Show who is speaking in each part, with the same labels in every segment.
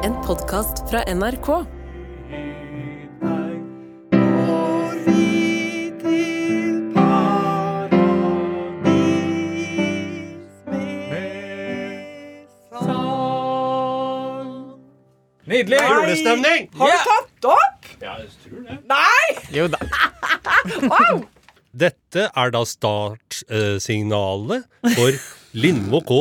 Speaker 1: podkast fra NRK.
Speaker 2: Nydelig!
Speaker 3: Julestemning!
Speaker 4: Har du tatt opp?
Speaker 2: Ja, jeg tror det.
Speaker 4: Nei!
Speaker 3: Jo da. Dette er da startsignalet for Lindmo K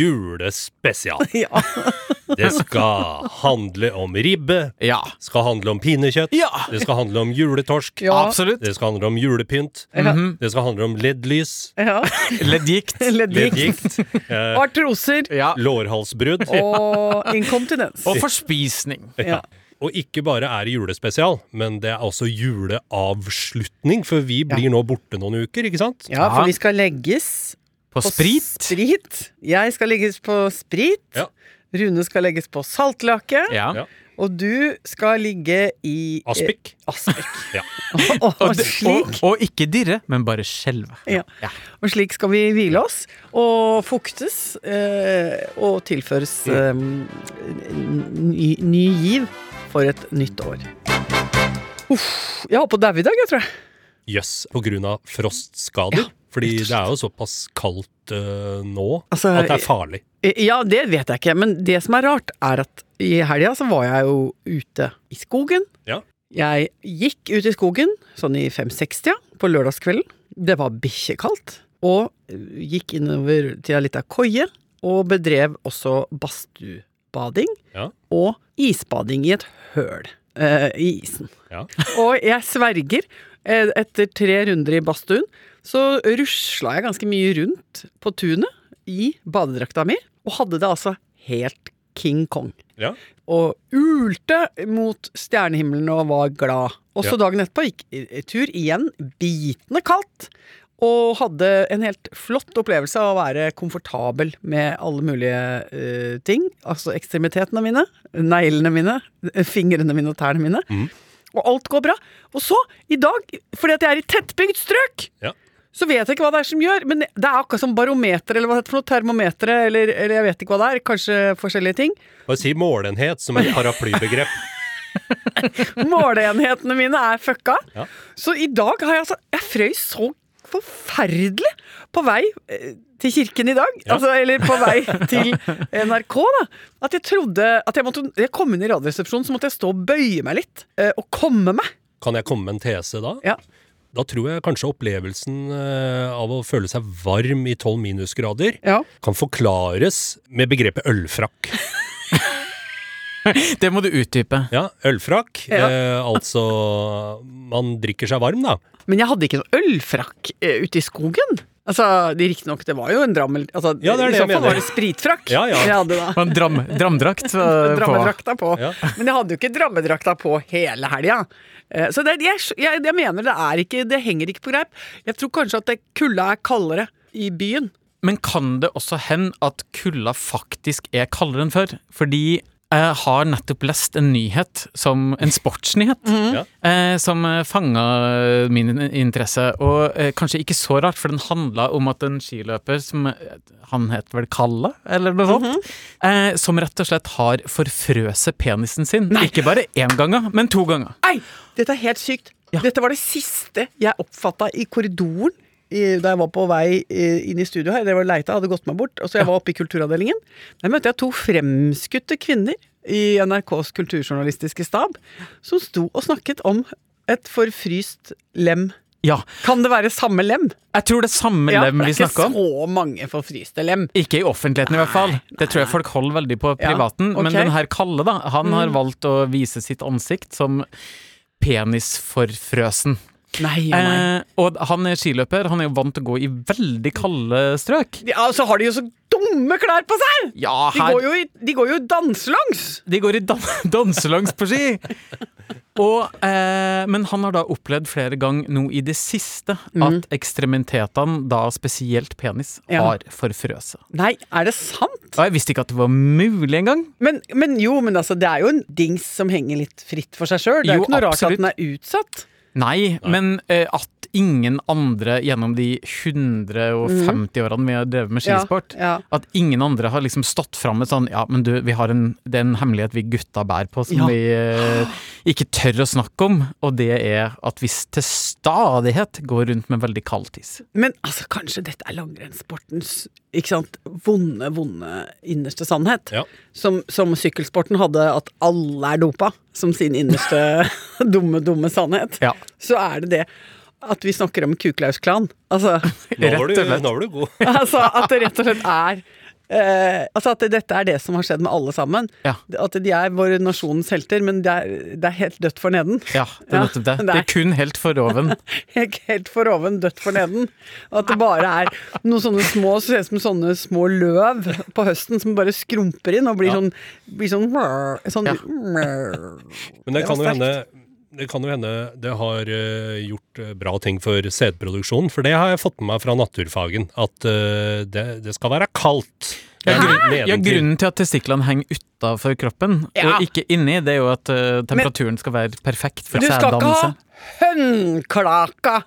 Speaker 3: julespesial.
Speaker 4: Ja.
Speaker 3: Det skal handle om ribbe,
Speaker 2: Ja.
Speaker 3: skal handle om pinnekjøtt,
Speaker 2: Ja.
Speaker 3: det skal handle om juletorsk,
Speaker 4: Ja.
Speaker 2: Absolutt.
Speaker 3: det skal handle om julepynt,
Speaker 2: Mhm.
Speaker 3: det skal handle om leddlys,
Speaker 4: ja.
Speaker 2: Leddgikt.
Speaker 3: leddgikt, eh,
Speaker 4: Artroser
Speaker 2: Ja.
Speaker 3: lårhalsbrudd.
Speaker 4: og inkontinens.
Speaker 2: Og forspisning.
Speaker 4: Ja.
Speaker 3: Og ikke bare er det julespesial, men det er også juleavslutning, for vi blir nå borte noen uker, ikke sant?
Speaker 4: ja, for vi skal legges
Speaker 2: På
Speaker 4: på
Speaker 2: sprit.
Speaker 4: sprit. Jeg skal legges på sprit.
Speaker 3: Ja.
Speaker 4: Rune skal legges på saltlake.
Speaker 2: Ja.
Speaker 3: Ja.
Speaker 4: Og du skal ligge i eh,
Speaker 3: Aspik.
Speaker 4: Aspik.
Speaker 3: Ja.
Speaker 4: og, og,
Speaker 2: Og, det-
Speaker 4: slik,
Speaker 2: og, og ikke dirre, men bare skjelve.
Speaker 4: ja.
Speaker 2: Ja.
Speaker 4: og slik skal vi hvile oss, og fuktes, eh, og tilføres eh,
Speaker 3: Mm.
Speaker 4: ny, ny giv for et nytt år. Uff. Jeg holdt på å daue i dag, jeg, tror jeg.
Speaker 3: Jøss, på grunn av frostskader. Fordi det er jo såpass kaldt eh, nå
Speaker 4: Altså,
Speaker 3: at det er farlig.
Speaker 4: Eh, Ja, det vet jeg ikke, men det som er rart, er at i helga så var jeg jo ute i skogen.
Speaker 3: Ja.
Speaker 4: Jeg gikk ut i skogen sånn i 5-60-tida på lørdagskvelden. Det var bikkjekaldt. Og eh, gikk innover til ei lita koie, og bedrev også badstuebading.
Speaker 3: Ja.
Speaker 4: Og isbading i et høl eh, i isen.
Speaker 3: Ja.
Speaker 4: Og jeg sverger, eh, etter tre runder i badstuen, så rusla jeg ganske mye rundt på tunet i badedrakta mi, og hadde det altså helt King Kong.
Speaker 3: Ja.
Speaker 4: Og ulte mot stjernehimmelen og var glad. Og så
Speaker 3: Ja.
Speaker 4: dagen etterpå gikk i- i tur igjen, bitende kaldt, og hadde en helt flott opplevelse av å være komfortabel med alle mulige eh, ting. Altså ekstremitetene mine, neglene mine, fingrene mine og tærne mine.
Speaker 3: Mhm.
Speaker 4: Og alt går bra. Og så, i dag, fordi at jeg er i tettbygd strøk,
Speaker 3: Ja.
Speaker 4: så vet jeg ikke hva det er som gjør. Men det er akkurat som barometer, eller hva det heter for noe, termometer, eller, eller jeg vet ikke hva det er. Kanskje forskjellige ting.
Speaker 3: Bare si målenhet som et paraplybegrep.
Speaker 4: Måleenhetene mine er fucka.
Speaker 3: Ja.
Speaker 4: Så i dag har jeg altså Jeg frøys så forferdelig på vei eh, til kirken i dag.
Speaker 3: Ja.
Speaker 4: Altså, eller på vei til NRK, da. At jeg trodde at jeg måtte Jeg kom inn i Radioresepsjonen, så måtte jeg stå og bøye meg litt. eh, Og komme meg.
Speaker 3: Kan jeg komme med en tese da?
Speaker 4: Ja.
Speaker 3: Da tror jeg kanskje opplevelsen eh, av å føle seg varm i tolv minusgrader
Speaker 4: Ja.
Speaker 3: kan forklares med begrepet ølfrakk.
Speaker 2: Det må du utdype.
Speaker 3: Ja, ølfrakk.
Speaker 4: Ja.
Speaker 3: Eh, altså Man drikker seg varm, da.
Speaker 4: Men jeg hadde ikke noe ølfrakk eh, ute i skogen. Altså, det Riktignok, det var jo en drammel... Altså,
Speaker 3: Ja, det er det
Speaker 4: I så
Speaker 3: jeg
Speaker 4: fall
Speaker 3: mener.
Speaker 4: var det spritfrakk
Speaker 3: Ja, ja.
Speaker 4: jeg hadde da.
Speaker 2: Og en dram, dramdrakt. eh, på.
Speaker 4: Drammedrakta på.
Speaker 3: Ja.
Speaker 4: Men jeg hadde jo ikke drammedrakta på hele helga. Eh, Så det, jeg, jeg, jeg mener det er ikke Det henger ikke på greip. Jeg tror kanskje at det kulda er kaldere i byen.
Speaker 2: Men kan det også hende at kulda faktisk er kaldere enn før? Fordi jeg har nettopp lest en nyhet, som, en sportsnyhet,
Speaker 4: Mhm.
Speaker 3: Ja.
Speaker 2: eh, som fanga min interesse. Og eh, kanskje ikke så rart, for den handla om at en skiløper som eh, Han het vel Kalle, eller noe sånt?
Speaker 4: Mhm.
Speaker 2: eh, som rett og slett har forfrøset penisen sin. Ikke bare én ganger, men to ganger.
Speaker 4: Ei, dette er helt sykt. Dette var det siste jeg oppfatta i korridoren i, da jeg var på vei eh, inn i studio her. Det var leita, hadde gått meg bort. Og så jeg var oppe i kulturavdelingen. Der møtte jeg to fremskutte kvinner i NRKs kulturjournalistiske stab som sto og snakket om et forfryst lem.
Speaker 2: Ja.
Speaker 4: Kan det være samme lem?
Speaker 2: Jeg tror det er samme
Speaker 4: Ja,
Speaker 2: lem
Speaker 4: for
Speaker 2: vi
Speaker 4: det er
Speaker 2: snakker
Speaker 4: ikke
Speaker 2: om.
Speaker 4: så mange forfryste lem.
Speaker 2: Ikke i offentligheten i hvert fall. Det tror jeg folk holder veldig på
Speaker 4: Ja,
Speaker 2: privaten.
Speaker 4: ok. Mm.
Speaker 2: Men den her Kalle, da, han har valgt å vise sitt ansikt som penisforfrøsen.
Speaker 4: Nei, å nei.
Speaker 2: Eh, og han er skiløper, han er jo vant til å gå i veldig kalde strøk.
Speaker 4: Ja, og så har de jo så dumme klær på seg!
Speaker 2: Ja,
Speaker 4: De
Speaker 2: her
Speaker 4: går jo, i, de går jo danselongs!
Speaker 2: De går i dan danselangs på ski! Og, eh, men han har da opplevd flere ganger nå i det siste at ekstremitetene, da spesielt penis,
Speaker 4: Mm. Ja.
Speaker 2: har forfrøset.
Speaker 4: Nei, er det sant?
Speaker 2: Og jeg visste ikke at det var mulig engang.
Speaker 4: Men, men jo, men altså, det er jo en dings som henger litt fritt for seg sjøl. Det er
Speaker 2: Jo,
Speaker 4: jo ikke noe rart
Speaker 2: absolutt.
Speaker 4: at den er utsatt.
Speaker 2: Nei, men eh, at ingen andre gjennom de 150 årene vi har drevet med skisport
Speaker 4: Mm. Ja, ja.
Speaker 2: At ingen andre har liksom stått fram med sånn Ja, men du, vi har en, det er en hemmelighet vi gutta bærer på som
Speaker 4: Ja.
Speaker 2: vi eh, ikke tør å snakke om, og det er at vi til stadighet går rundt med veldig kald tiss.
Speaker 4: Men altså, kanskje dette er langrennssportens ikke sant, vonde, vonde innerste sannhet.
Speaker 3: Ja.
Speaker 4: Som, som sykkelsporten hadde at alle er dopa som sin innerste dumme, dumme sannhet.
Speaker 2: Ja.
Speaker 4: Så er det det at vi snakker om Kuklaus-klan. Altså,
Speaker 3: Nå var
Speaker 2: Rett og
Speaker 3: du,
Speaker 2: slett.
Speaker 3: nå var du god.
Speaker 4: altså at det rett og slett er eh, altså At dette er det som har skjedd med alle sammen.
Speaker 2: Ja.
Speaker 4: At de er vår nasjonens helter, men det er, det er helt dødt for neden.
Speaker 2: Ja, det er
Speaker 4: Ja,
Speaker 2: nettopp det.
Speaker 4: det
Speaker 2: Det
Speaker 4: er-
Speaker 2: er kun helt for oven.
Speaker 4: Helt helt for oven, dødt for neden. Og At det bare er noen sånne små som ser ut som sånne små løv på høsten som bare skrumper inn og blir
Speaker 3: Ja.
Speaker 4: sånn, blir sånn, sånn
Speaker 2: Ja.
Speaker 3: Men det
Speaker 4: Det
Speaker 3: kan
Speaker 4: var
Speaker 3: jo hende det kan jo hende det har eh, gjort eh, bra ting for sædproduksjonen, for det har jeg fått med meg fra naturfagen. At eh, det, det skal være kaldt. Det
Speaker 2: Ja,
Speaker 3: er
Speaker 2: grunn,
Speaker 3: nedentil.
Speaker 2: ja, grunnen til at testiklene henger utafor kroppen
Speaker 4: Ja.
Speaker 2: og ikke inni, det er jo at eh, temperaturen skal være perfekt for
Speaker 4: Du skal ikke ha
Speaker 2: sæddannelse.
Speaker 4: hønklaka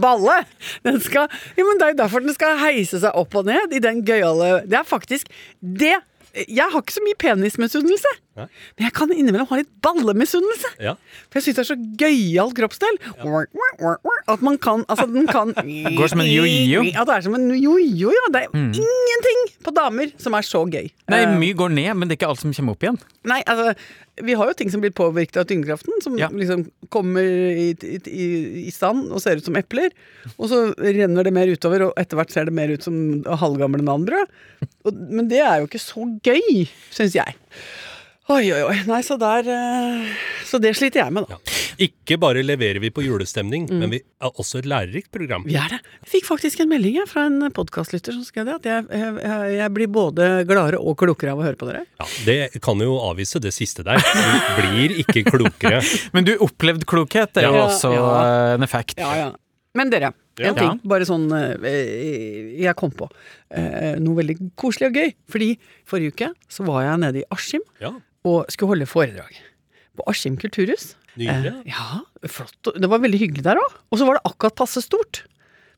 Speaker 4: balle! Den skal, jo, men det er jo derfor den skal heise seg opp og ned i den gøyale Det er faktisk det Jeg har ikke så mye penismisunnelse,
Speaker 3: Nei.
Speaker 4: men jeg kan innimellom ha litt ballemisunnelse.
Speaker 3: Ja.
Speaker 4: For jeg syns det er så gøyal kroppsdel. At man kan Altså, den kan Går
Speaker 2: som en jojo.
Speaker 4: Ja, det er som en jojo, ja. Det er ingenting på damer som er så gøy.
Speaker 2: Nei,
Speaker 4: Eh,
Speaker 2: mye går ned, men det er ikke alt som kommer opp igjen.
Speaker 4: nei, altså Vi har jo ting som blir påvirket av tyngdekraften, som
Speaker 2: Ja.
Speaker 4: liksom kommer i, i, i- i stand og ser ut som epler. Og så renner det mer utover, og etter hvert ser det mer ut som halvgamle nanbrød. Og- Men det er jo ikke så gøy, syns jeg. Oi, oi, oi. Nei, så der eh, Så det sliter jeg med, da.
Speaker 3: Ja. Ikke bare leverer vi på julestemning,
Speaker 2: Mm.
Speaker 3: men vi er også et lærerikt program.
Speaker 4: Vi er det. Jeg fikk faktisk en melding jeg, fra en podkastlytter som skrev det, at jeg, jeg, jeg blir både gladere og klokere av å høre på dere.
Speaker 3: Ja, det kan jo avvise det siste der. Vi blir ikke klokere.
Speaker 2: Men du opplevd klokhet er jo
Speaker 4: Ja.
Speaker 2: også
Speaker 4: Ja.
Speaker 2: eh, en effekt.
Speaker 4: Ja, ja. Men dere,
Speaker 3: Ja.
Speaker 4: en ting bare sånn eh, jeg kom på. Eh, noe veldig koselig og gøy. Fordi forrige uke så var jeg nede i Askim
Speaker 3: Ja,
Speaker 4: og skulle holde foredrag. På Askim kulturhus.
Speaker 3: Nydelig.
Speaker 4: Eh, ja, flott. Det var veldig hyggelig der òg. Og så var det akkurat passe stort.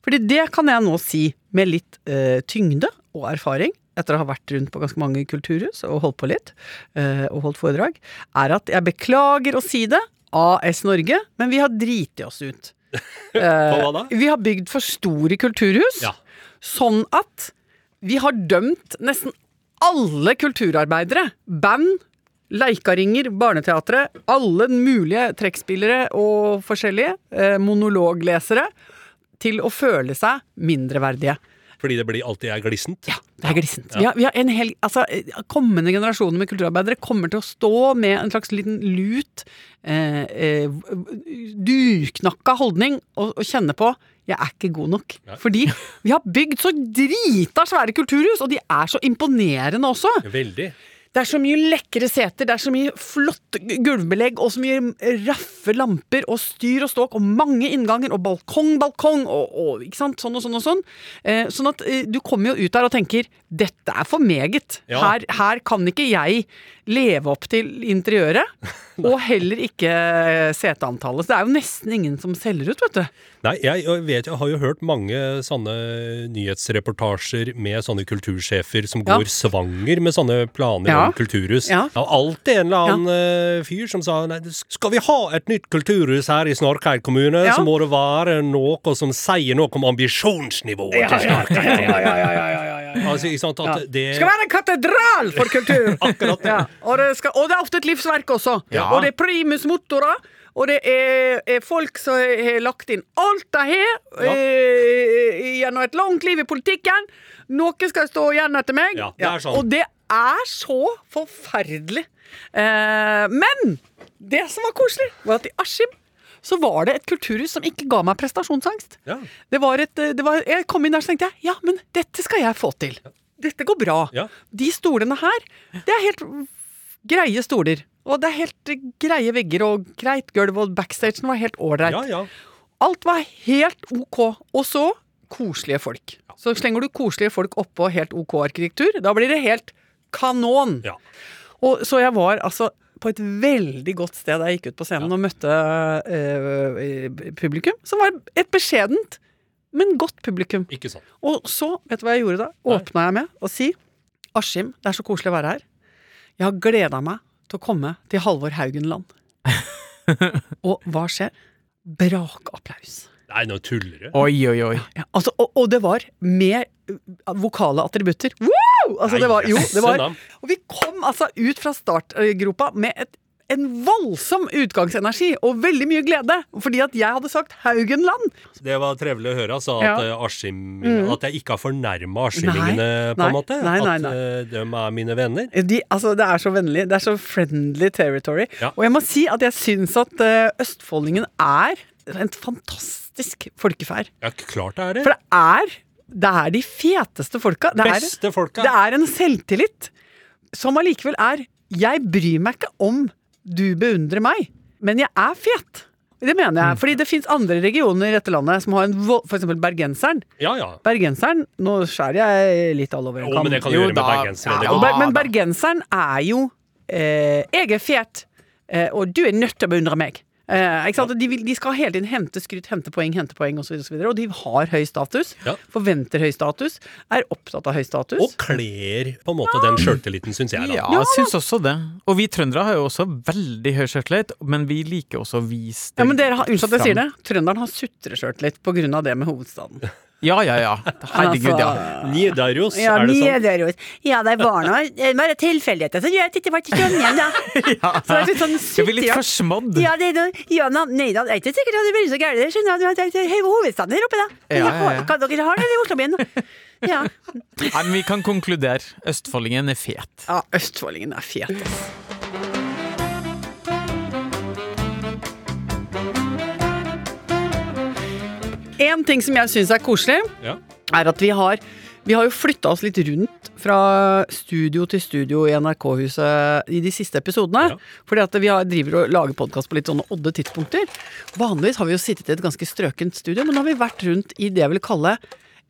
Speaker 4: Fordi det kan jeg nå si med litt eh, tyngde og erfaring, etter å ha vært rundt på ganske mange kulturhus og holdt på litt, eh, og holdt foredrag, er at jeg beklager å si det, AS Norge, men vi har driti oss ut.
Speaker 2: Eh,
Speaker 3: På hva da?
Speaker 4: Vi har bygd for store kulturhus,
Speaker 3: Ja.
Speaker 4: sånn at vi har dømt nesten alle kulturarbeidere. Band, leikaringer, barneteatre, alle mulige trekkspillere og forskjellige, eh, monologlesere, til å føle seg mindreverdige.
Speaker 3: Fordi det blir alltid er glissent.
Speaker 4: Ja, det er glissent. Vi har, vi har en hel, altså, eh, kommende generasjoner med kulturarbeidere kommer til å stå med en slags liten lut, eh, eh, duknakka holdning, og, og kjenne på jeg er ikke god nok. Fordi vi har bygd så drita svære kulturhus, og de er så imponerende også.
Speaker 3: Veldig.
Speaker 4: Det er så mye lekre seter, det er så mye flott g- gulvbelegg og så mye raffe lamper og styr og ståk og mange innganger og balkong, balkong og, og ikke sant, sånn og sånn og sånn. Eh, sånn at eh, du kommer jo ut der og tenker 'dette er for meget'.
Speaker 3: Ja.
Speaker 4: Her, her kan ikke jeg leve opp til interiøret, og heller ikke seteantallet. Så det er jo nesten ingen som selger ut, vet du.
Speaker 3: Nei, jeg, jeg vet, jeg har jo hørt mange sånne nyhetsreportasjer med sånne kultursjefer som
Speaker 4: Ja.
Speaker 3: går svanger med sånne planer
Speaker 4: Ja.
Speaker 3: om kulturhus.
Speaker 4: Ja.
Speaker 3: Det var alltid en eller annen eh, fyr som sa nei, skal vi ha et nytt kulturhus her i Snorkeid kommune,
Speaker 4: Ja.
Speaker 3: så må det være noe som sier noe om ambisjonsnivået til Snorkeid. Altså, ikke sant, at det...
Speaker 4: Det skal være en katedral for kultur!
Speaker 3: Akkurat det.
Speaker 4: Ja, og, det skal, og det er ofte et livsverk også.
Speaker 2: Ja.
Speaker 4: Og det er primus motorer. Og det er, er folk som har lagt inn alt de har
Speaker 3: Ja.
Speaker 4: eh, gjennom et langt liv i politikken. Noe skal stå igjen etter meg.
Speaker 3: Ja, det er sånn.
Speaker 4: Og det er så forferdelig. Eh, men det som var koselig, var at i Askim så var det et kulturhus som ikke ga meg prestasjonsangst.
Speaker 3: Ja.
Speaker 4: Det var et, det var, jeg kom inn der så tenkte jeg, ja, men dette skal jeg få til. Dette går bra.
Speaker 3: Ja.
Speaker 4: De stolene her, det er helt greie stoler. Og det er helt greie vegger og greit gulv, og backstagen var helt ålreit.
Speaker 3: Ja, ja.
Speaker 4: Alt var helt ok. Og så koselige folk. Så slenger du koselige folk oppå helt ok arkitektur, da blir det helt kanon.
Speaker 3: Ja.
Speaker 4: Og, så jeg var altså på et veldig godt sted da jeg gikk ut på scenen og møtte eh, publikum, som var et beskjedent, men godt publikum.
Speaker 3: Ikke sant.
Speaker 4: Og så, vet du hva jeg gjorde da? Åpna jeg med å si Askim, det er så koselig å være her. Jeg har gleda meg til å komme til Halvor Haugenland. og hva skjer? Brakapplaus.
Speaker 3: Nei, nå tuller du.
Speaker 2: Oi, oi, oi.
Speaker 4: Ja, altså, og, og det var med uh, vokale attributter. Wow! Altså, det var, jo, det var, og vi kom altså ut fra startgropa med et, en voldsom utgangsenergi og veldig mye glede. Fordi at jeg hadde sagt Haugenland.
Speaker 3: Det var trevelig å høre, altså. At,
Speaker 4: Ja. Mm.
Speaker 3: eh, Askim, at jeg ikke har fornærma askimingene, på
Speaker 4: Nei,
Speaker 3: en
Speaker 4: nei,
Speaker 3: måte.
Speaker 4: nei, nei,
Speaker 3: At
Speaker 4: nei.
Speaker 3: eh, de er mine venner.
Speaker 4: De, altså, det er så vennlig. Det er så friendly territory.
Speaker 3: Ja.
Speaker 4: Og jeg må si at jeg syns at eh, østfoldingen er en fantastisk folkeferd.
Speaker 3: Ja, klart det er det.
Speaker 4: For det er, det er de feteste folka. Det er,
Speaker 3: Beste folka.
Speaker 4: det er en selvtillit som allikevel er Jeg bryr meg ikke om du beundrer meg, men jeg er fet. Det mener
Speaker 3: Mm.
Speaker 4: jeg. Fordi det fins andre regioner i dette landet som har en vold... For eksempel bergenseren.
Speaker 3: Ja, ja.
Speaker 4: Bergenseren Nå skjærer jeg litt all over en
Speaker 3: Å,
Speaker 4: kam.
Speaker 3: men det kan du
Speaker 2: Jo,
Speaker 3: gjøre med
Speaker 2: da-
Speaker 3: bergensere. det
Speaker 4: Ja,
Speaker 2: går
Speaker 4: og ber-
Speaker 2: bra,
Speaker 4: men
Speaker 2: da.
Speaker 4: bergenseren er jo eh, Jeg er fet, eh, og du er nødt til å beundre meg. Eh, ikke sant? Og De, vil, de skal hele tiden hente skryt, hente poeng, hente poeng osv. Og, så videre, og, så videre. og de har høy status.
Speaker 3: Ja.
Speaker 4: Forventer høy status. Er opptatt av høy status.
Speaker 3: Og kler på en måte den sjøltilliten, syns jeg. da.
Speaker 2: Ja, jeg syns også det. Og vi trøndere har jo også veldig høy sjøltillit, men vi liker også å vise det
Speaker 4: Ja, men dere har, Unnskyld at jeg
Speaker 2: fram.
Speaker 4: sier det. Trønderen har sutreskjørt litt pga. det med hovedstaden.
Speaker 2: Ja, ja, ja. Herregud, ja.
Speaker 3: Nidaros,
Speaker 4: Ja,
Speaker 3: er det
Speaker 4: mye
Speaker 3: sånn?
Speaker 4: dere gjør. ja det var noe
Speaker 1: Eh,
Speaker 4: det var tilfeldigheter som gjør at jeg ikke var til Trondheim, da. Så det er litt sånn
Speaker 2: Jeg blir litt
Speaker 4: sutrejakt.
Speaker 2: forsmådd.
Speaker 1: Ja, det er noe, ja, na- nei da, det er ikke sikkert at det blir så gærent. det Skjønner du, det er hele hovedstaden her oppe, da.
Speaker 2: Ja, ja, ja.
Speaker 1: Hva dere har nede i Oslobyen? Ja.
Speaker 2: Nei, men vi kan konkludere. Østfoldingen er fet.
Speaker 4: Ja, østfoldingen er fet, ass. En ting som jeg syns er koselig,
Speaker 3: Ja.
Speaker 4: er at vi har vi har jo flytta oss litt rundt fra studio til studio i NRK-huset i de siste episodene.
Speaker 3: Ja.
Speaker 4: Fordi at vi har, driver og lager podkast på litt sånne odde tidspunkter. Vanligvis har vi jo sittet i et ganske strøkent studio, men nå har vi vært rundt i det jeg vil kalle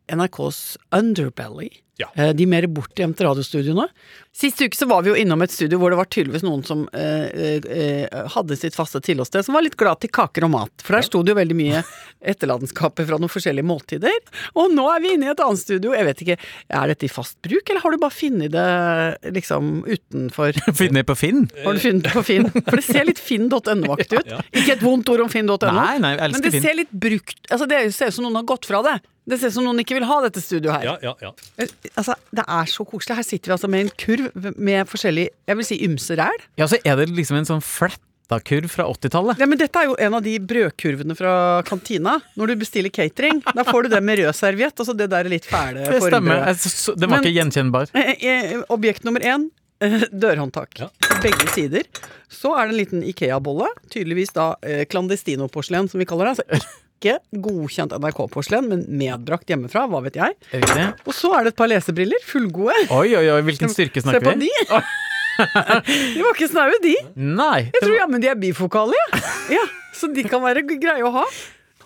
Speaker 4: NRKs underbelly.
Speaker 3: Ja.
Speaker 4: Eh, De mer bortgjemte radiostudioene. Sist uke så var vi jo innom et studio hvor det var tydeligvis noen som eh, eh, eh, hadde sitt faste tilholdssted, som var litt glad til kaker og mat. For der sto det jo veldig mye etterladenskaper fra noen forskjellige måltider. Og nå er vi inne i et annet studio. Jeg vet ikke, er dette i fast bruk, eller har du bare funnet det liksom utenfor?
Speaker 2: Finner på Finn?
Speaker 4: Har du funnet det på Finn? For det ser litt finn.no-aktig ut. Ikke et vondt ord om finn.no.
Speaker 2: Nei, nei, jeg elsker
Speaker 4: Men det
Speaker 2: Finn.
Speaker 4: ser litt brukt Altså, det ser ut som noen har gått fra det. Det ser ut som noen ikke vil ha dette studioet her.
Speaker 3: Ja, ja, ja.
Speaker 4: Altså, det er så koselig. Her sitter vi altså med en kurv med forskjellig Jeg vil si ymse ræl.
Speaker 2: Ja, så er det liksom en sånn fletta kurv fra 80-tallet.
Speaker 4: Ja, men dette er jo en av de brødkurvene fra kantina. Når du bestiller catering, da får du det med rød serviett. Altså det der litt fæle
Speaker 2: Det stemmer.
Speaker 4: formbrødet.
Speaker 2: Jeg s- s- Den var ikke gjenkjennbar.
Speaker 4: Eh, eh, Objekt nummer én. eh, Dørhåndtak.
Speaker 3: Ja.
Speaker 4: Begge sider. Så er det en liten Ikea-bolle. Tydeligvis da eh, clandestino-porselen, som vi kaller det. Altså ikke godkjent NRK-porselen, men medbrakt hjemmefra. Hva vet jeg.
Speaker 2: Er det ikke det?
Speaker 4: Og så er det et par lesebriller. Fullgode.
Speaker 2: Oi, oi, oi, hvilken styrke
Speaker 4: Se på
Speaker 2: snakker
Speaker 4: de!
Speaker 2: vi?
Speaker 4: De var ikke snaue, de.
Speaker 2: Nei.
Speaker 4: Jeg tror jammen de er bifokale, ja. ja. Så de kan være g- greie å ha.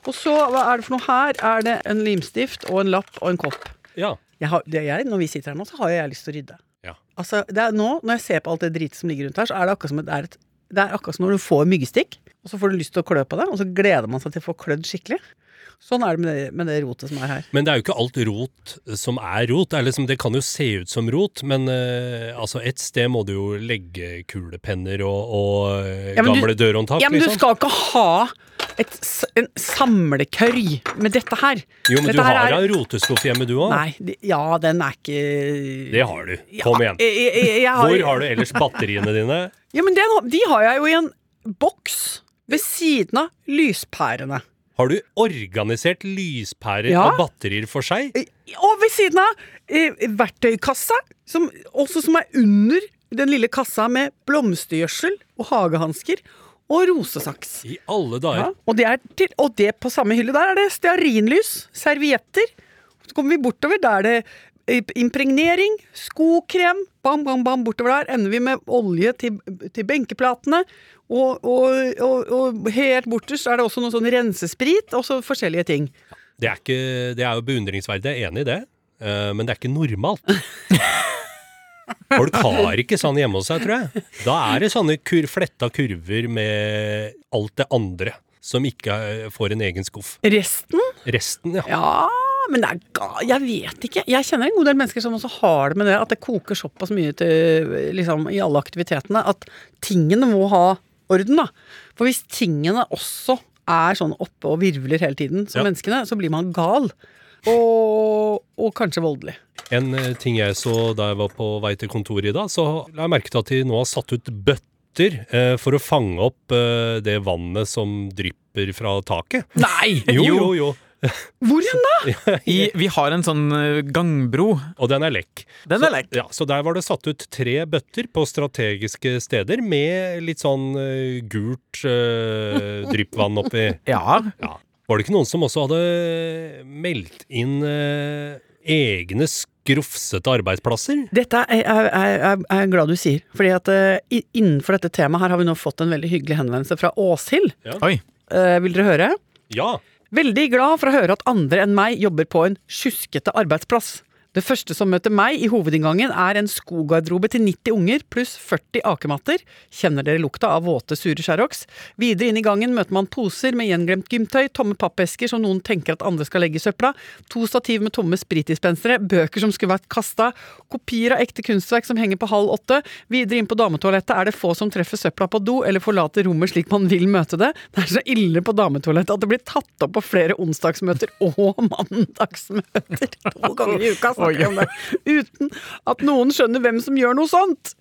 Speaker 4: Og så, hva er det for noe her? Er det en limstift og en lapp og en kopp?
Speaker 3: ja.
Speaker 4: Jeg har, det er jeg, når vi sitter her nå, så har jeg lyst til å rydde.
Speaker 3: Ja.
Speaker 4: Altså, det er nå, når jeg ser på alt det dritet som ligger rundt her, så er det akkurat som, et, det er et, det er akkurat som når du får myggstikk, og så får du lyst til å klø på det, og så gleder man seg til å få klødd skikkelig. Sånn er det med det, med det rotet som er her.
Speaker 3: Men det er jo ikke alt rot som er rot. Det, er liksom, det kan jo se ut som rot, men eh, altså et sted må du jo legge kulepenner og, og eh,
Speaker 4: Ja, men du-
Speaker 3: gamle dørhåndtak.
Speaker 4: Ja, men du
Speaker 3: liksom.
Speaker 4: skal ikke ha et, s- en samlekørj med dette her.
Speaker 3: Jo, men
Speaker 4: dette
Speaker 3: du
Speaker 4: her
Speaker 3: har
Speaker 4: er-
Speaker 3: da en roteskuff hjemme, du òg.
Speaker 4: Nei, de- ja, den er ikke
Speaker 3: Det har du. Kom igjen.
Speaker 4: Jeg, jeg, jeg, jeg har,
Speaker 3: Hvor har du ellers batteriene dine?
Speaker 4: Ja, men den, har- de har jeg jo i en boks ved siden av lyspærene.
Speaker 3: Har du organisert lyspærer
Speaker 4: Ja.
Speaker 3: og batterier for seg?
Speaker 4: Eh, Og ved siden av eh, verktøykassa, som, også som er under den lille kassa med blomstergjødsel og hagehansker og rosesaks.
Speaker 3: I alle
Speaker 4: Ja,
Speaker 3: dager.
Speaker 4: og, det er til, og det på samme hylle der er det stearinlys, servietter. Så kommer vi bortover, der er det eh, impregnering, skokrem, bam, bam, bam, bortover der. Ender vi med olje til, til benkeplatene. Og, og, og, og helt borterst er det også noe sånn rensesprit, og så forskjellige ting.
Speaker 3: Det, er ikke, det er jo beundringsverdig, jeg er enig i det. Eh, men det er ikke normalt. Folk har ikke sånn hjemme hos seg, tror jeg. Da er det sånne kur, fletta kurver med alt det andre som ikke eh, får en egen skuff.
Speaker 4: Resten?
Speaker 3: Resten, ja.
Speaker 4: Ja, men det er ga... Jeg vet ikke. Jeg kjenner en god del mennesker som også har det med det, at det koker såpass mye til, liksom, i alle aktivitetene at tingene må ha orden, da. For hvis tingene også er sånn oppe og virvler hele tiden, som
Speaker 3: Ja.
Speaker 4: menneskene, så blir man gal. Og, og kanskje voldelig.
Speaker 3: En eh, ting jeg så da jeg var på vei til kontoret i dag, så la jeg merke til at de nå har satt ut bøtter eh, for å fange opp eh, det vannet som drypper fra taket.
Speaker 2: Nei!
Speaker 3: Jo, jo, jo.
Speaker 4: Hvor hen da?
Speaker 2: I, vi har en sånn eh, gangbro.
Speaker 3: Og den er lekk.
Speaker 2: Den er lekk.
Speaker 3: Så, ja, så der var det satt ut tre bøtter på strategiske steder med litt sånn eh, gult eh, dryppvann oppi.
Speaker 2: Ja.
Speaker 3: Ja. Var det ikke noen som også hadde meldt inn eh, egne skrufsete arbeidsplasser?
Speaker 4: Dette er er- er- er- er jeg glad du sier. Fordi at eh, i- innenfor dette temaet her har vi nå fått en veldig hyggelig henvendelse fra Åshild.
Speaker 2: Oi.
Speaker 4: Eh, vil dere høre?
Speaker 3: Ja.
Speaker 4: Veldig glad for å høre at andre enn meg jobber på en sjuskete arbeidsplass. Det første som møter meg i hovedinngangen er en skogarderobe til 90 unger pluss 40 akematter. Kjenner dere lukta av våte, sure Sherrox? Videre inn i gangen møter man poser med gjenglemt gymtøy, tomme pappesker som noen tenker at andre skal legge i søpla, to stativ med tomme spritdispensere, bøker som skulle vært kasta, kopier av ekte kunstverk som henger på halv åtte. Videre inn på dametoalettet er det få som treffer søpla på do eller forlater rommet slik man vil møte det. Det er så ille på dametoalettet at det blir tatt opp på flere onsdagsmøter og mandagsmøter. To ganger i uka snakker vi om det. Uten at noen skjønner hvem som gjør noe sånt.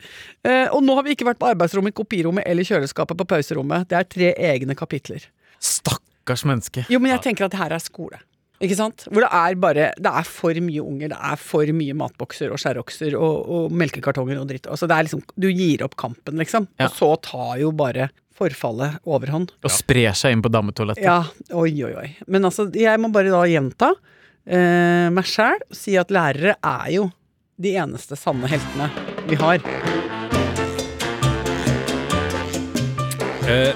Speaker 4: Eh, og nå har vi ikke vært på arbeidsrommet, kopirommet eller kjøleskapet på pauserommet. Det er tre egne kapitler.
Speaker 2: Stakkars menneske.
Speaker 4: Jo, men jeg tenker at det her er skole. Ikke sant? Hvor det er bare Det er for mye unger, det er for mye matbokser og skjærokser og, og melkekartonger og dritt. Altså, det er liksom Du gir opp kampen, liksom.
Speaker 2: Ja.
Speaker 4: Og så tar jo bare forfallet overhånd.
Speaker 2: Og sprer seg inn på dametoalettet.
Speaker 4: Ja, oi, oi, oi. Men altså, jeg må bare da gjenta eh, meg sjæl og si at lærere er jo de eneste sanne heltene vi har.
Speaker 3: Eh,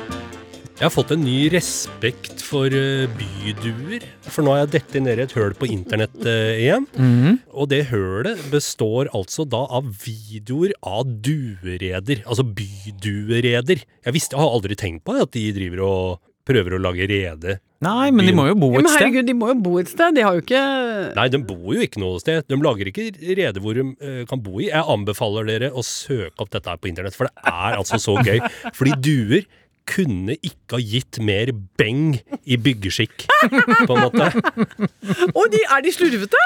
Speaker 3: jeg har fått en ny respekt for eh, byduer. For nå har jeg dettet ned i et høl på internett eh, igjen. Og det hølet består altså da av videoer av duereder. Altså byduereder. Jeg visste, jeg har aldri tenkt på det, at de driver og prøver å lage rede.
Speaker 2: Nei, men de må jo bo
Speaker 4: Ja,
Speaker 2: et
Speaker 4: men
Speaker 2: sted.
Speaker 4: herregud, de må jo bo et sted. De har jo ikke
Speaker 3: Nei, de bor jo ikke noe sted. De lager ikke rede hvor de eh, kan bo i. Jeg anbefaler dere å søke opp dette her på internett, for det er altså så gøy. Fordi duer kunne ikke ha gitt mer beng i byggeskikk, på en måte.
Speaker 4: Å, de, er de slurvete?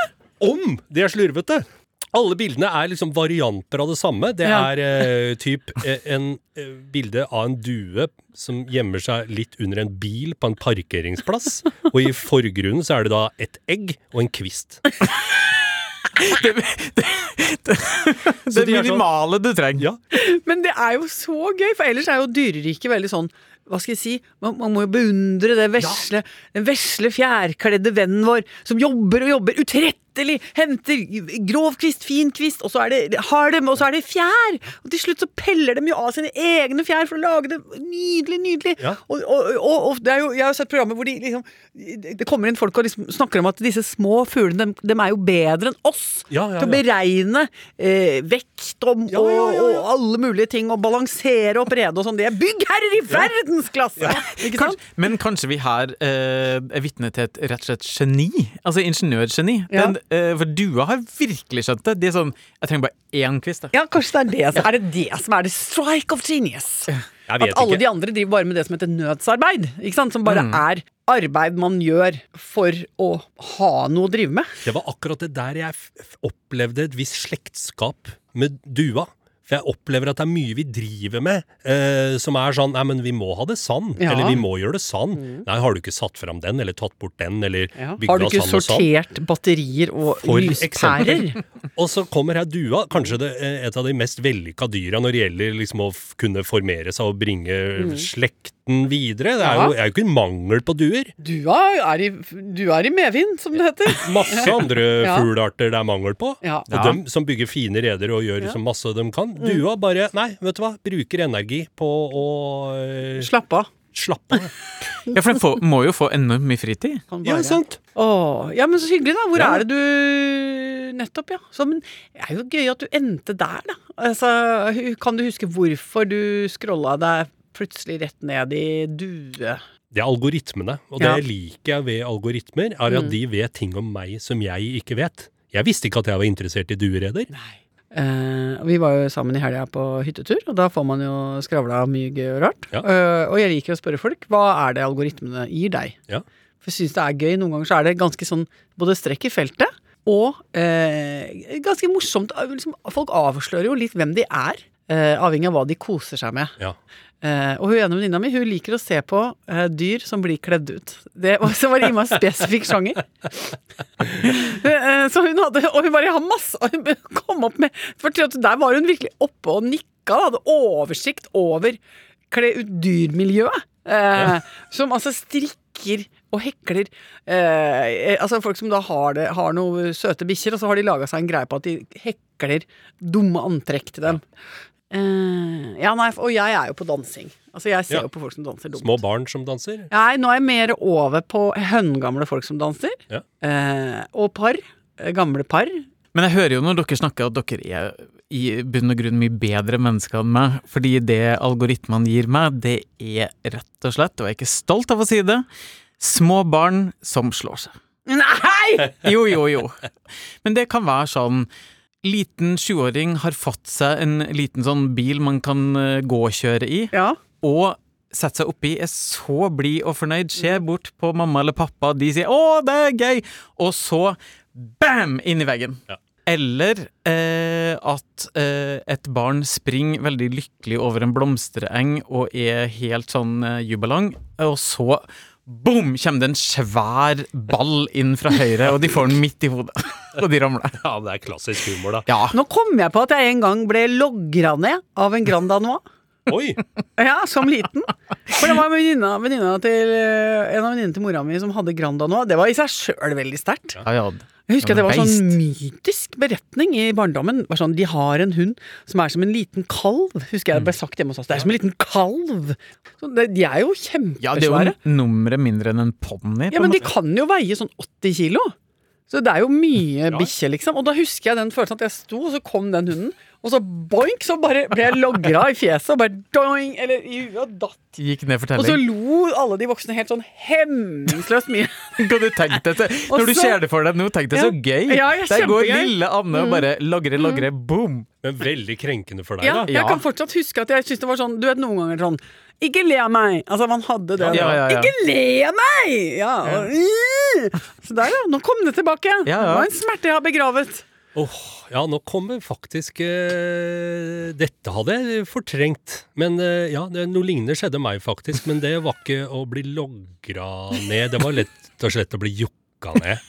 Speaker 3: Om de er slurvete! Alle bildene er liksom varianter av det samme. Det
Speaker 4: Ja.
Speaker 3: er eh, typ eh, en eh, bilde av en due som gjemmer seg litt under en bil på en parkeringsplass. Og i forgrunnen så er det da et egg og en kvist.
Speaker 2: Det
Speaker 3: de er sånn-
Speaker 2: minimale du trenger.
Speaker 3: Ja,
Speaker 4: Men det er jo så gøy, for ellers er jo dyreriket veldig sånn hva skal jeg si, man, man må jo beundre det vesle, den vesle fjærkledde vennen vår som jobber og jobber utrettelig, henter grov kvist, fin kvist, og så er det halm, og så er det fjær! Og til slutt så peller de jo av sine egne fjær for å lage det nydelig, nydelig.
Speaker 3: Ja.
Speaker 4: Og, og, og, og det er jo, jeg har jo sett programmer hvor de liksom, det kommer inn folk og liksom snakker om at disse små fuglene, dem, dem er jo bedre enn oss
Speaker 3: Ja, ja,
Speaker 4: til å
Speaker 3: ja.
Speaker 4: beregne eh, vekt og,
Speaker 3: Ja, ja, ja, ja.
Speaker 4: og alle mulige ting, og balansere opp rede og sånn. Det er byggherrer i verdensklasse! Ikke sant?
Speaker 2: Kanskje, men kanskje vi her eh, er vitne til et rett og slett geni? Altså ingeniørgeni.
Speaker 4: Ja.
Speaker 2: Den, eh, for dua har virkelig skjønt det. De er sånn Jeg trenger bare én kvist. Jeg.
Speaker 4: Ja, kanskje det er det, som- er det det som er the strike of genius.
Speaker 3: jeg
Speaker 4: At
Speaker 3: vet
Speaker 4: alle
Speaker 3: ikke.
Speaker 4: de andre driver bare med det som heter nødsarbeid. Ikke sant? Som bare er arbeid man gjør for å ha noe å drive med.
Speaker 3: Det var akkurat det der jeg f- f- opplevde et visst slektskap med dua. For jeg opplever at det er mye vi driver med eh, som er sånn Nei, men vi må ha det sann.
Speaker 4: Ja. Mm.
Speaker 3: Eller vi må gjøre det sann. Nei, har du ikke satt fram den, eller tatt bort den, eller
Speaker 4: Har
Speaker 3: bygd
Speaker 4: du
Speaker 3: av
Speaker 4: ikke
Speaker 3: sand og sand?
Speaker 4: sortert batterier og
Speaker 3: For
Speaker 4: lyspærer?
Speaker 3: eksempel. Og så kommer her dua, kanskje det, eh, et av de mest vellykka dyra når det gjelder liksom å f kunne formere seg og bringe slekten videre. Det er
Speaker 4: Mm. Ja.
Speaker 3: jo, er jo ikke en mangel på duer.
Speaker 4: Dua er i, dua er i medvind, som det heter.
Speaker 3: Masse andre
Speaker 4: Ja.
Speaker 3: fuglearter det er mangel på.
Speaker 4: Ja. Mm.
Speaker 3: Og dem som bygger fine reder og gjør så masse de kan. Dua bare Nei, vet du hva. Bruker energi på å eh,
Speaker 4: Slapp av.
Speaker 3: Slapp av.
Speaker 2: Ja, for den får, må jo få enormt mye fritid.
Speaker 4: Kan
Speaker 3: Ja,
Speaker 4: bare-
Speaker 3: sant?
Speaker 4: Åh, ja, men så hyggelig, da. Hvor
Speaker 3: Ja.
Speaker 4: er det du Nettopp, ja. Så, men det er jo gøy at du endte der, da. Altså, hu- kan du huske hvorfor du scrolla deg plutselig rett ned i due?
Speaker 3: Det er algoritmene. Og det
Speaker 4: Ja. Mm.
Speaker 3: liker jeg ved algoritmer, er at de vet ting om meg som jeg ikke vet. Jeg visste ikke at jeg var interessert i duereder.
Speaker 4: Eh, vi var jo sammen i helga på hyttetur, og da får man jo skravla mye gøy og rart.
Speaker 3: Ja.
Speaker 4: Eh, og jeg liker å spørre folk hva er det algoritmene gir deg?
Speaker 3: Ja.
Speaker 4: For jeg syns det er gøy. Noen ganger så er det ganske sånn både strekk i feltet og eh, ganske morsomt. Liksom, folk avslører jo litt hvem de er, eh, avhengig av hva de koser seg med.
Speaker 3: Ja.
Speaker 4: Eh, og hun ene venninna mi hun liker å se på eh, dyr som blir kledd ut. Det var, så var det innmari spesifikk sjanger. Eh, så hun hadde, og hun bare har masse og hun kom opp med, for til at Der var hun virkelig oppe og nikka. da, Hadde oversikt over kle ut dyr-miljøet. Eh, Som altså strikker og hekler. Eh, eh, altså Folk som da har, det, har noen søte bikkjer, og så har de laga seg en greie på at de hekler dumme antrekk til dem. Eh, ja, nei, og jeg er jo på dansing. Altså, jeg ser
Speaker 3: Ja.
Speaker 4: jo på folk som danser dumt.
Speaker 3: Små barn som danser.
Speaker 4: Nei, nå er jeg mer over på høngamle folk som danser.
Speaker 3: Ja.
Speaker 4: Eh, og par. eh, Gamle par.
Speaker 2: Men jeg hører jo når dere snakker at dere er i bunn og grunn mye bedre mennesker enn meg, fordi det algoritmene gir meg, det er rett og slett, og jeg er ikke stolt av å si det, små barn som slår seg.
Speaker 4: Nei!
Speaker 2: Jo, jo, jo. Men det kan være sånn Liten sjuåring har fått seg en liten sånn bil man kan eh, gåkjøre i.
Speaker 4: Ja.
Speaker 2: og sette seg oppi, er så blid og fornøyd, ser bort på mamma eller pappa, de sier 'Å, det er gøy', og så bam! inn i veggen.
Speaker 3: Ja.
Speaker 2: Eller eh, at eh, et barn springer veldig lykkelig over en blomstereng og er helt sånn eh, jubelang, og så Boom! Kommer det en svær ball inn fra høyre, og de får den midt i hodet. Og de ramler.
Speaker 3: Ja, det er klassisk humor, da.
Speaker 2: Ja.
Speaker 4: Nå kom jeg på at jeg en gang ble logra ned av en Grand Danois.
Speaker 3: Oi!
Speaker 4: Ja, som liten. For det var en venninna- venninna til eh, En av venninnene til mora mi som hadde Grand Danois. Det var i seg sjøl veldig sterkt.
Speaker 2: Ja, ja.
Speaker 4: Jeg husker at det
Speaker 2: Ja, men
Speaker 4: var sånn mytisk beretning i barndommen. Det Var sånn, de har en hund som er som en liten kalv. Husker jeg det ble
Speaker 2: Mm.
Speaker 4: sagt hjemme hos oss. Det er som en liten kalv! Så det, de er jo
Speaker 2: ja, det er
Speaker 4: kjempesvære.
Speaker 2: jo nummeret mindre enn en ponni.
Speaker 4: Ja, men de kan jo veie sånn 80 kilo. Så det er jo mye bikkje, liksom. Og da husker jeg den følelsen at jeg sto, og så kom den hunden. Og så boink, så bare ble jeg logra i fjeset. Og bare doing, eller i huet, og datt.
Speaker 2: Gikk ned for
Speaker 4: Og så
Speaker 2: telling.
Speaker 4: lo alle de voksne helt sånn hemningsløst mye.
Speaker 2: Kan du tenke deg så,
Speaker 4: Og
Speaker 2: Når du
Speaker 4: så-
Speaker 2: ser det for deg nå, tenk deg så
Speaker 4: Ja.
Speaker 2: gøy!
Speaker 4: Ja, ja,
Speaker 2: Der går
Speaker 4: kjempegøy. Mm.
Speaker 2: lille Anne og bare lagrer, lagrer, boom!
Speaker 3: Men veldig krenkende for deg,
Speaker 4: Ja,
Speaker 3: da.
Speaker 4: jeg
Speaker 2: Ja.
Speaker 4: kan fortsatt huske at jeg syntes det var sånn Du vet noen ganger sånn Ikke le av meg! Altså, man hadde det.
Speaker 2: Ja, ja, ja.
Speaker 4: Ikke le av meg! Ja, og, «Ih!» Så der, ja. Nå kom det tilbake.
Speaker 2: Ja,
Speaker 4: Det
Speaker 2: ja.
Speaker 4: var en smerte jeg har begravet.
Speaker 3: Åh, ja, nå kommer faktisk eh, Dette hadde jeg fortrengt. Men eh, ja, det, noe lignende skjedde meg faktisk. Men det var ikke å bli logra ned. Det var lett og slett å bli jokka ned.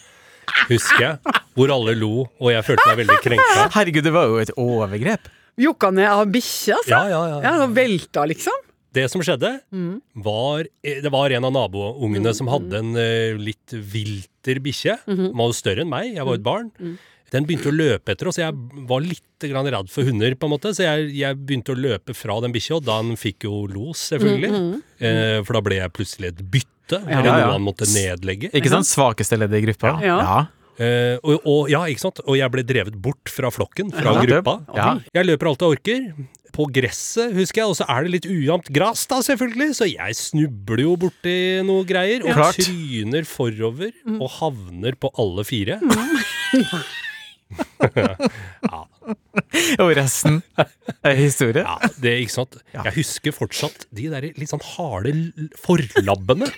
Speaker 3: Husker jeg. Hvor alle lo, og jeg følte meg veldig krenka.
Speaker 2: Herregud, det var jo et overgrep.
Speaker 4: Jokka ned av bikkje, altså.
Speaker 3: Ja, ja, ja.
Speaker 4: Ja, og velta, liksom.
Speaker 3: Det som skjedde,
Speaker 2: Mm.
Speaker 3: var eh, Det var en av naboungene som hadde en eh, litt vilter bikkje.
Speaker 2: Mhm.
Speaker 3: Den var jo større enn meg, jeg var jo et
Speaker 2: Mm.
Speaker 3: barn. Den begynte å løpe etter oss. Jeg var litt grann redd for hunder, på en måte, så jeg, jeg begynte å løpe fra den bikkja, og den fikk jo los, selvfølgelig. Eh, for da ble jeg plutselig et bytte, eller
Speaker 2: Mm, ja,
Speaker 3: noe
Speaker 2: ja.
Speaker 3: han måtte nedlegge.
Speaker 2: Ikke sant? Svakeste leddet i gruppa.
Speaker 4: Ja.
Speaker 3: Eh, og, og, ja, ikke sant? og jeg ble drevet bort fra flokken, fra
Speaker 2: Ja.
Speaker 3: gruppa.
Speaker 2: Ja.
Speaker 3: Jeg løper alt jeg orker. På gresset, husker jeg, og så er det litt ujevnt gress, da, selvfølgelig, så jeg snubler jo borti noe greier, og
Speaker 2: Klart.
Speaker 3: tryner forover og havner på alle fire.
Speaker 2: Og resten er historie.
Speaker 3: Ja, det, ikke sant? Jeg husker fortsatt de der litt sånn harde l- forlabbene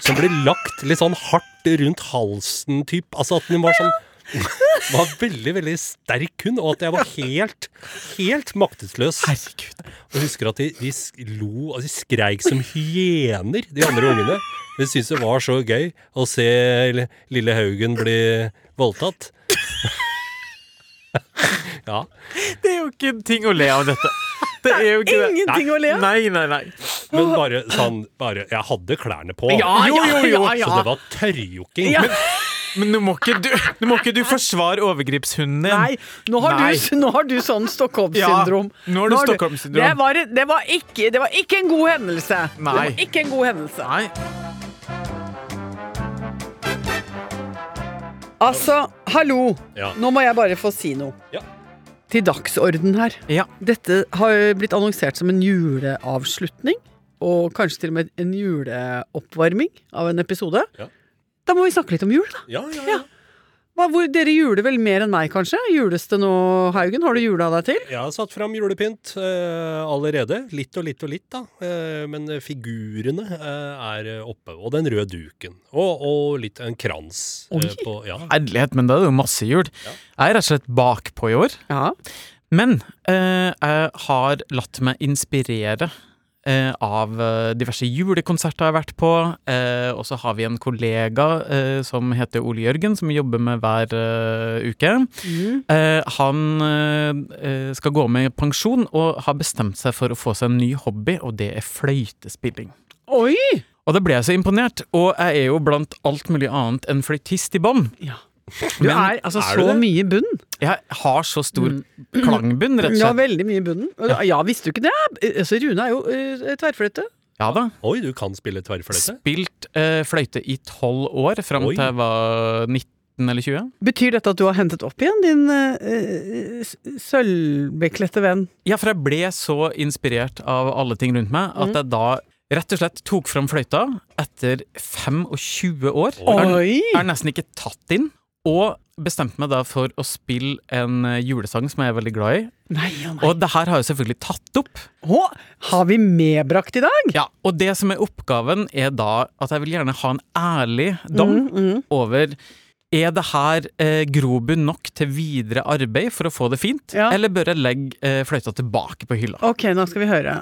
Speaker 3: som ble lagt litt sånn hardt rundt halsen, typ. Altså at den var sånn var veldig, veldig sterk hund, og at jeg var helt, helt maktesløs.
Speaker 2: Herregud.
Speaker 3: Og jeg husker at de, de sk- lo, altså de skreik som hyener, de andre ungene. De syntes det var så gøy å se l- lille Haugen bli voldtatt. Ja.
Speaker 2: Det er jo ikke en ting å le av, dette. Det er jo ikke det.
Speaker 4: Ingenting å le av.
Speaker 2: Nei, nei, nei.
Speaker 3: Men bare sånn bare, Jeg hadde klærne på.
Speaker 4: Ja,
Speaker 2: Jo,
Speaker 4: ja,
Speaker 2: jo, jo.
Speaker 4: ja, ja.
Speaker 3: Så det var tørrjokking.
Speaker 4: Ja.
Speaker 3: Men
Speaker 5: Men nå må ikke du, nå må ikke du forsvare overgripshunden din.
Speaker 4: Nei, nå har,
Speaker 5: Nei.
Speaker 4: Du, nå har du sånn Stockholm-syndrom.
Speaker 5: Ja, nå har du Stockholm-syndrom.
Speaker 4: Det, var- det, var ikke- det var ikke en god hendelse. Det
Speaker 5: Nei.
Speaker 4: var ikke en god hendelse.
Speaker 5: Nei.
Speaker 4: Altså, hallo.
Speaker 3: Ja.
Speaker 4: Nå må jeg bare få si noe.
Speaker 3: Ja.
Speaker 4: Til dagsorden her.
Speaker 5: Ja.
Speaker 4: Dette har blitt annonsert som en juleavslutning. Og kanskje til og med en juleoppvarming av en episode.
Speaker 3: Ja.
Speaker 4: Da må vi snakke litt om jul, da.
Speaker 3: Ja, ja, ja.
Speaker 4: Hva, hvor, dere juler vel mer enn meg, kanskje? Jules det nå, Haugen? Har du jula deg til?
Speaker 3: Jeg har satt fram julepynt eh, allerede. Litt og litt og litt, da. Eh, men figurene eh, er oppe. Og den røde duken. Og, og litt en krans. eh,
Speaker 4: Oi.
Speaker 3: på, ja.
Speaker 2: Ærlighet, men da er det jo masse jul. Jeg er rett og slett bakpå i år.
Speaker 4: Ja.
Speaker 2: Men eh, jeg har latt meg inspirere eh, av eh, diverse julekonserter jeg har vært på. Eh, og så har vi en kollega eh, som heter Ole Jørgen, som vi jobber med hver eh, uke. Eh, han eh, eh, skal gå med i pensjon og har bestemt seg for å få seg en ny hobby, og det er fløytespilling.
Speaker 4: Oi!
Speaker 2: Og da ble jeg så imponert, og jeg er jo blant alt mulig annet en fløytist i bånn.
Speaker 4: Du er altså
Speaker 3: er du
Speaker 4: så
Speaker 3: det?
Speaker 4: mye i bunnen.
Speaker 2: Jeg har så stor klangbunn, rett og
Speaker 4: Ja,
Speaker 2: slett.
Speaker 4: veldig mye i bunnen. Ja, visste du ikke det? Altså, Rune er jo eh, tverrfløyte.
Speaker 2: Ja da.
Speaker 3: Oi, du kan spille tverrfløyte?
Speaker 2: Spilt eh, fløyte i tolv år, fram
Speaker 3: Oi.
Speaker 2: til jeg var 19 eller 20.
Speaker 4: Betyr dette at du har hentet opp igjen din eh, eh, s- sølvbeklette venn?
Speaker 2: Ja, for jeg ble så inspirert av alle ting rundt meg
Speaker 4: Mhm.
Speaker 2: at jeg da rett og slett tok fram fløyta etter 25 år. Jeg
Speaker 4: Oi!
Speaker 2: er nesten ikke tatt inn. Og bestemte meg da for å spille en eh, julesang som jeg er veldig glad i.
Speaker 4: Nei, ja, nei.
Speaker 2: Og det her har jeg selvfølgelig tatt opp.
Speaker 4: Å, har vi medbrakt i dag?
Speaker 2: Ja, og det som er oppgaven er da at jeg vil gjerne ha en ærlig dom over er det her eh, grobunn nok til videre arbeid for å få det fint,
Speaker 4: Ja.
Speaker 2: eller bør jeg legge eh, fløyta tilbake på hylla?
Speaker 4: Ok, nå skal vi høre.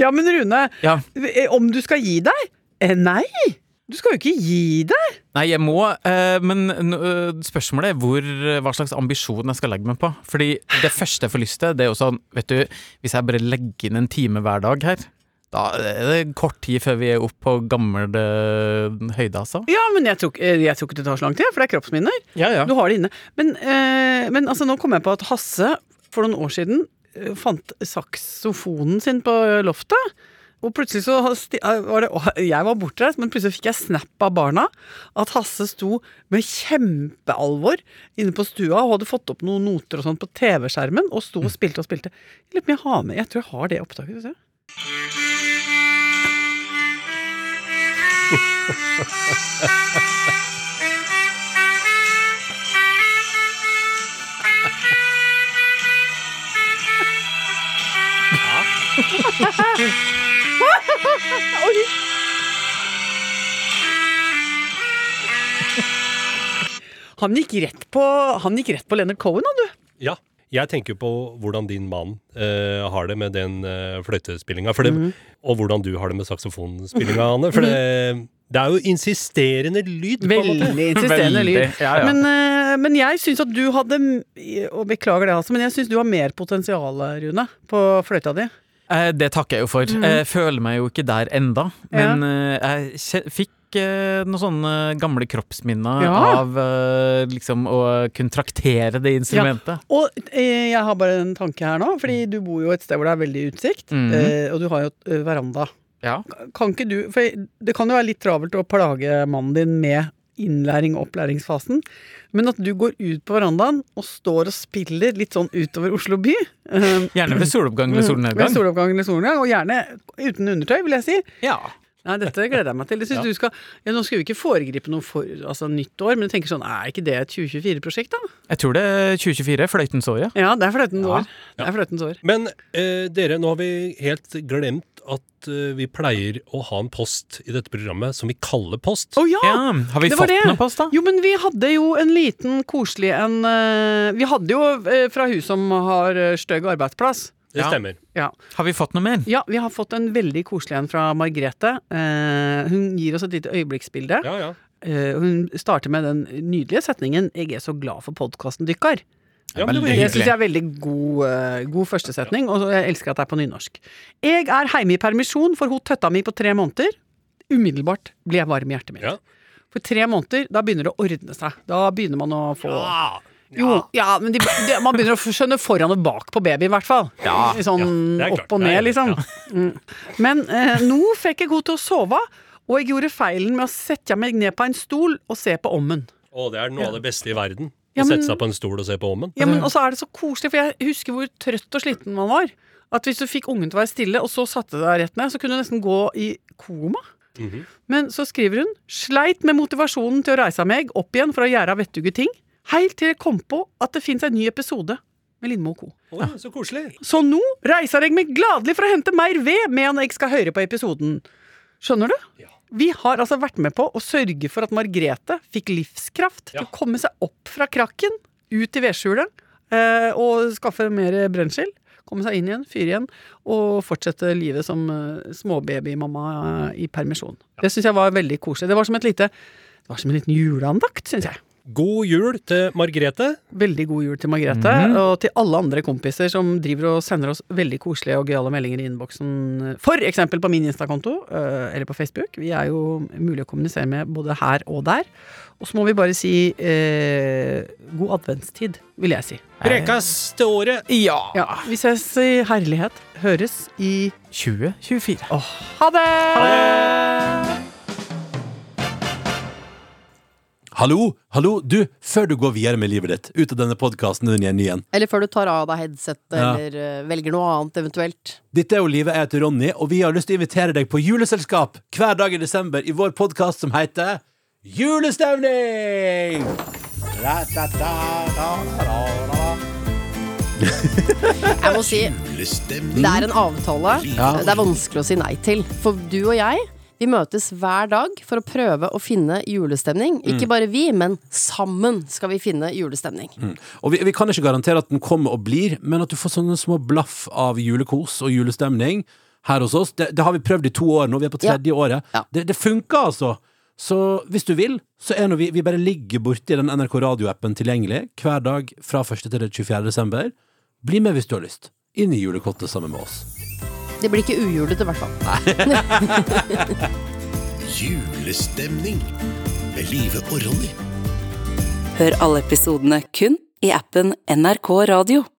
Speaker 4: Ja, men Rune,
Speaker 2: Ja.
Speaker 4: eh, om du skal gi deg? Eh, nei! Du skal jo ikke gi deg!
Speaker 2: Nei, jeg må, eh, men nå, eh, spørsmålet er hvor, eh, hva slags ambisjon jeg skal legge meg på. Fordi det første jeg får lyst til, det er jo sånn, vet du, hvis jeg bare legger inn en time hver dag her, da er det kort tid før vi er opp på gammel eh, høyde, altså.
Speaker 4: Ja, men jeg tror, ikke- eh, jeg tror ikke det tar så lang tid, for det er kroppsminner.
Speaker 2: Ja, ja.
Speaker 4: Du har det inne. Men, eh, men altså, nå kom jeg på at Hasse for noen år siden eh, fant saksofonen sin på loftet. Og plutselig så ha- sti- eh, var det og Jeg var bortreist, men plutselig fikk jeg snap av barna at Hasse sto med kjempealvor inne på stua og hadde fått opp noen noter og sånt på TV-skjermen, og sto
Speaker 2: Mm.
Speaker 4: og spilte og spilte. Jeg lurer på om jeg har med Jeg tror jeg har det opptaket. Skal vi se. Han gikk rett på, han gikk rett på Leonard Cohen, han, du.
Speaker 3: Ja. Jeg tenker på hvordan din mann eh, har det med den uh, fløytespillinga, for det-
Speaker 4: Mhm.
Speaker 3: og hvordan du har det med saksofonspillinga, Anne. For det, det er jo insisterende lyd. på en måte.
Speaker 4: Veldig insisterende
Speaker 2: Veldig,
Speaker 4: lyd.
Speaker 2: ja, ja.
Speaker 4: Men, eh, men jeg syns at du hadde Og beklager det, altså, men jeg syns du har mer potensial, Rune, på fløyta di.
Speaker 2: Eh, det takker jeg jo for.
Speaker 4: Mm.
Speaker 2: Jeg føler meg jo ikke der enda, men eh, jeg kje- fikk eh, noen sånne gamle kroppsminner
Speaker 4: Ja.
Speaker 2: av eh, liksom å kunne traktere det instrumentet.
Speaker 4: Og eh, jeg har bare en tanke her nå,
Speaker 2: Mm.
Speaker 4: fordi du bor jo et sted hvor det er veldig utsikt,
Speaker 2: Mhm.
Speaker 4: eh, og du har jo eh, veranda.
Speaker 2: Ja.
Speaker 4: Kan ikke du For det kan jo være litt travelt å plage mannen din med innlæring- og opplæringsfasen, men at du går ut på verandaen og står og spiller litt sånn utover Oslo by eh,
Speaker 2: Gjerne ved soloppgang eller
Speaker 4: Med
Speaker 2: solnedgang.
Speaker 4: soloppgang eller solnedgang, og gjerne uten undertøy, vil jeg si.
Speaker 2: Ja.
Speaker 4: Nei, dette gleder jeg meg til. Jeg synes du skal, ja, nå skal vi ikke foregripe noe for, altså, nytt år, men jeg tenker sånn, er ikke det et 2024-prosjekt, da?
Speaker 2: Jeg tror det er 2024, fløytens år, ja.
Speaker 4: Ja, det er fløytens
Speaker 2: Ja.
Speaker 4: år. Det er fløytens år.
Speaker 3: Men eh, dere, nå har vi helt glemt at eh, vi pleier å ha en post i dette programmet som vi kaller post.
Speaker 4: Å ja!
Speaker 2: ja. Har vi
Speaker 4: Ah, det var
Speaker 2: fått
Speaker 4: det.
Speaker 2: noe post, da?
Speaker 4: Jo, men vi hadde jo en liten koselig en eh, Vi hadde jo eh, fra hun som har eh, stygg arbeidsplass.
Speaker 3: Det
Speaker 2: Ja.
Speaker 3: stemmer.
Speaker 4: Ja.
Speaker 2: Har vi fått noe mer?
Speaker 4: ja, vi har fått en veldig koselig en fra Margrethe. Eh, hun gir oss et lite øyeblikksbilde.
Speaker 3: Ja, ja.
Speaker 4: eh, Hun starter med den nydelige setningen 'Jeg er så glad for podkasten dykkar'.
Speaker 3: Ja, men det var
Speaker 2: Veldig
Speaker 4: Det syns
Speaker 2: hyggelig.
Speaker 4: jeg er veldig god, eh, god første setning, og jeg elsker at det er på nynorsk. Jeg er heime i permisjon for hun tøtta mi på tre måneder. Umiddelbart blir jeg varm i hjertet mitt.
Speaker 3: Ja.
Speaker 4: For tre måneder, da begynner det å ordne seg. Da begynner man å få
Speaker 3: Ah,
Speaker 4: Jo, ja, men de, de, man begynner å skjønne foran og bak på baby, i hvert fall. I sånn
Speaker 3: ja, det er klart.
Speaker 4: opp og ned,
Speaker 3: Ja, ja,
Speaker 4: liksom. Mm. Men eh, nå fikk jeg god til å sove, og jeg gjorde feilen med å sette meg ned på en stol og se på ommen.
Speaker 3: Å, det er noe av det beste i verden. Å
Speaker 4: Ja, men-
Speaker 3: sette seg på en stol og se på ommen.
Speaker 4: Ja, men også er det så koselig, for jeg husker hvor trøtt og sliten man var. At hvis du fikk ungen til å være stille, og så satte du deg rett ned, så kunne du nesten gå i koma. Men så skriver hun Sleit med motivasjonen til å reise meg opp igjen for å gjøre vettuge ting. Helt til jeg kom på at det fins en ny episode med Lindmo og co.
Speaker 3: Å, så koselig.
Speaker 4: Så nå reiser jeg meg gladelig for å hente mer ved medan jeg skal høre på episoden. Skjønner du?
Speaker 3: Ja.
Speaker 4: Vi har altså vært med på å sørge for at Margrethe fikk livskraft til
Speaker 3: Ja.
Speaker 4: å komme seg opp fra krakken, ut i vedskjulet, eh, og skaffe mer brensel. Komme seg inn igjen, fyre igjen, og fortsette livet som eh, småbabymamma eh, i permisjon. Det syns jeg var veldig koselig. Det var som et lite det var som en liten juleandakt, syns jeg.
Speaker 3: God jul til Margrethe.
Speaker 4: Veldig god jul til Margrethe, og til alle andre kompiser som driver og sender oss veldig koselige og gøyale meldinger i innboksen. For eksempel på min Insta-konto, eh, eller på Facebook. Vi er jo mulig å kommunisere med både her og der. Og så må vi bare si eh, god adventstid, vil jeg si.
Speaker 3: Prekas til året.
Speaker 2: Ja.
Speaker 4: Ja, vi ses i herlighet. Høres i
Speaker 2: 2024.
Speaker 4: Ha det!
Speaker 6: Hallo, hallo, du, før du går videre med livet ditt, ut av denne podkasten din igjen, igjen.
Speaker 7: Eller før du tar av deg headsetet,
Speaker 6: Ja.
Speaker 7: eller eh, velger noe annet eventuelt.
Speaker 6: Dette er jo Livet, jeg heter Ronny, og vi har lyst til å invitere deg på juleselskap hver dag i desember i vår podkast som heter Julestemning!
Speaker 7: Jeg må si, det er en avtale eh, det er vanskelig å si nei til. For du og jeg, vi møtes hver dag for å prøve å finne julestemning. Ikke bare vi, men sammen skal vi finne julestemning.
Speaker 6: Og vi, vi kan ikke garantere at den kommer og blir, men at du får sånne små blaff av julekos og julestemning her hos oss. Det, det har vi prøvd i to år nå, vi er på
Speaker 7: Ja.
Speaker 6: tredje året.
Speaker 7: Ja.
Speaker 6: Det, det funker altså! Så hvis du vil, så er nå vi, vi bare ligger borti den NRK radioappen tilgjengelig hver dag fra 1. til 24. desember. Bli med hvis du har lyst. Inn i julekottet sammen med oss.
Speaker 7: Det blir ikke ujulete, i hvert fall.
Speaker 8: Julestemning med Live og Ronny.
Speaker 9: Hør alle episodene kun i appen NRK Radio.